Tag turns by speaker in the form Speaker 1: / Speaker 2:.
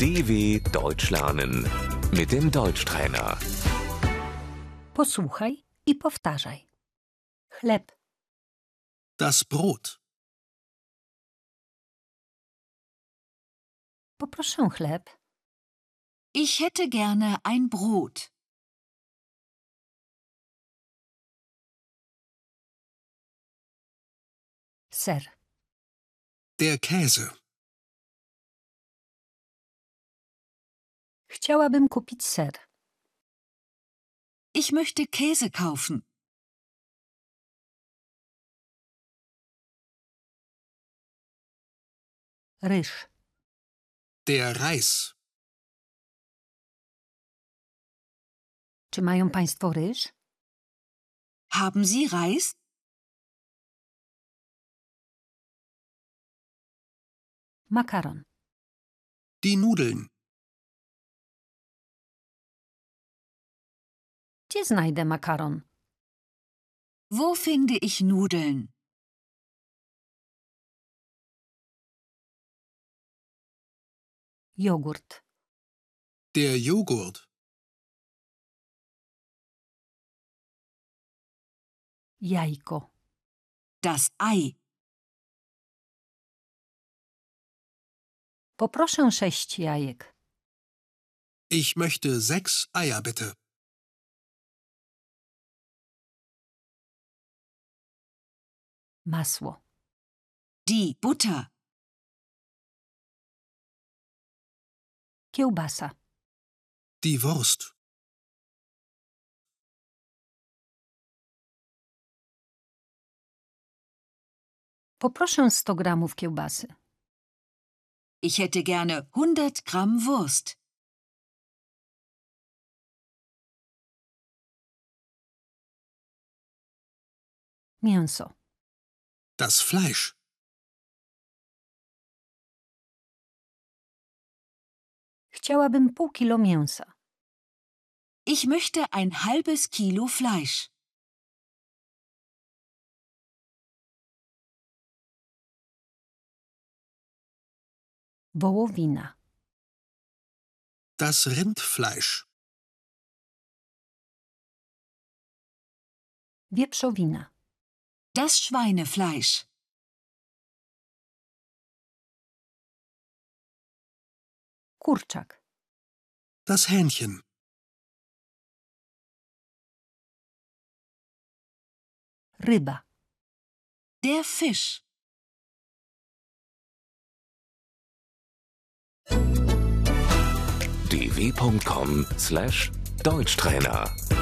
Speaker 1: DW Deutsch lernen mit dem Deutschtrainer.
Speaker 2: Posłuchaj i powtarzaj. Chleb,
Speaker 3: Das Brot.
Speaker 2: poproszę chleb,
Speaker 4: Ich hätte gerne ein Brot.
Speaker 2: ser,
Speaker 3: Der Käse.
Speaker 2: Chciałabym kupić ser,
Speaker 4: Ich möchte Käse kaufen.
Speaker 2: ryż,
Speaker 3: Der Reis.
Speaker 2: Czy mają Państwo ryż?
Speaker 4: Haben Sie Reis?
Speaker 2: Makaron,
Speaker 3: Die Nudeln.
Speaker 2: gdzie znajdę makaron?
Speaker 4: Wo finde ich Nudeln?
Speaker 2: Jogurt,
Speaker 3: Der Joghurt.
Speaker 2: jajko,
Speaker 4: Das Ei.
Speaker 2: poproszę sześć jajek,
Speaker 3: Ich möchte sechs Eier bitte.
Speaker 2: masło,
Speaker 4: Die Butter.
Speaker 2: kiełbasa,
Speaker 3: Die Wurst.
Speaker 2: poproszę 100 gramów kiełbasy,
Speaker 4: Ich hätte gerne 100 Gramm Wurst.
Speaker 2: mięso,
Speaker 3: Das Fleisch.
Speaker 2: chciałabym pół kilo mięsa,
Speaker 4: Ich möchte ein halbes Kilo Fleisch.
Speaker 2: wołowina,
Speaker 3: Das Rindfleisch.
Speaker 2: wieprzowina,
Speaker 4: Das Schweinefleisch.
Speaker 2: kurczak,
Speaker 3: Das Hähnchen.
Speaker 2: ryba,
Speaker 4: Der Fisch.
Speaker 1: dw.com/deutschtrainer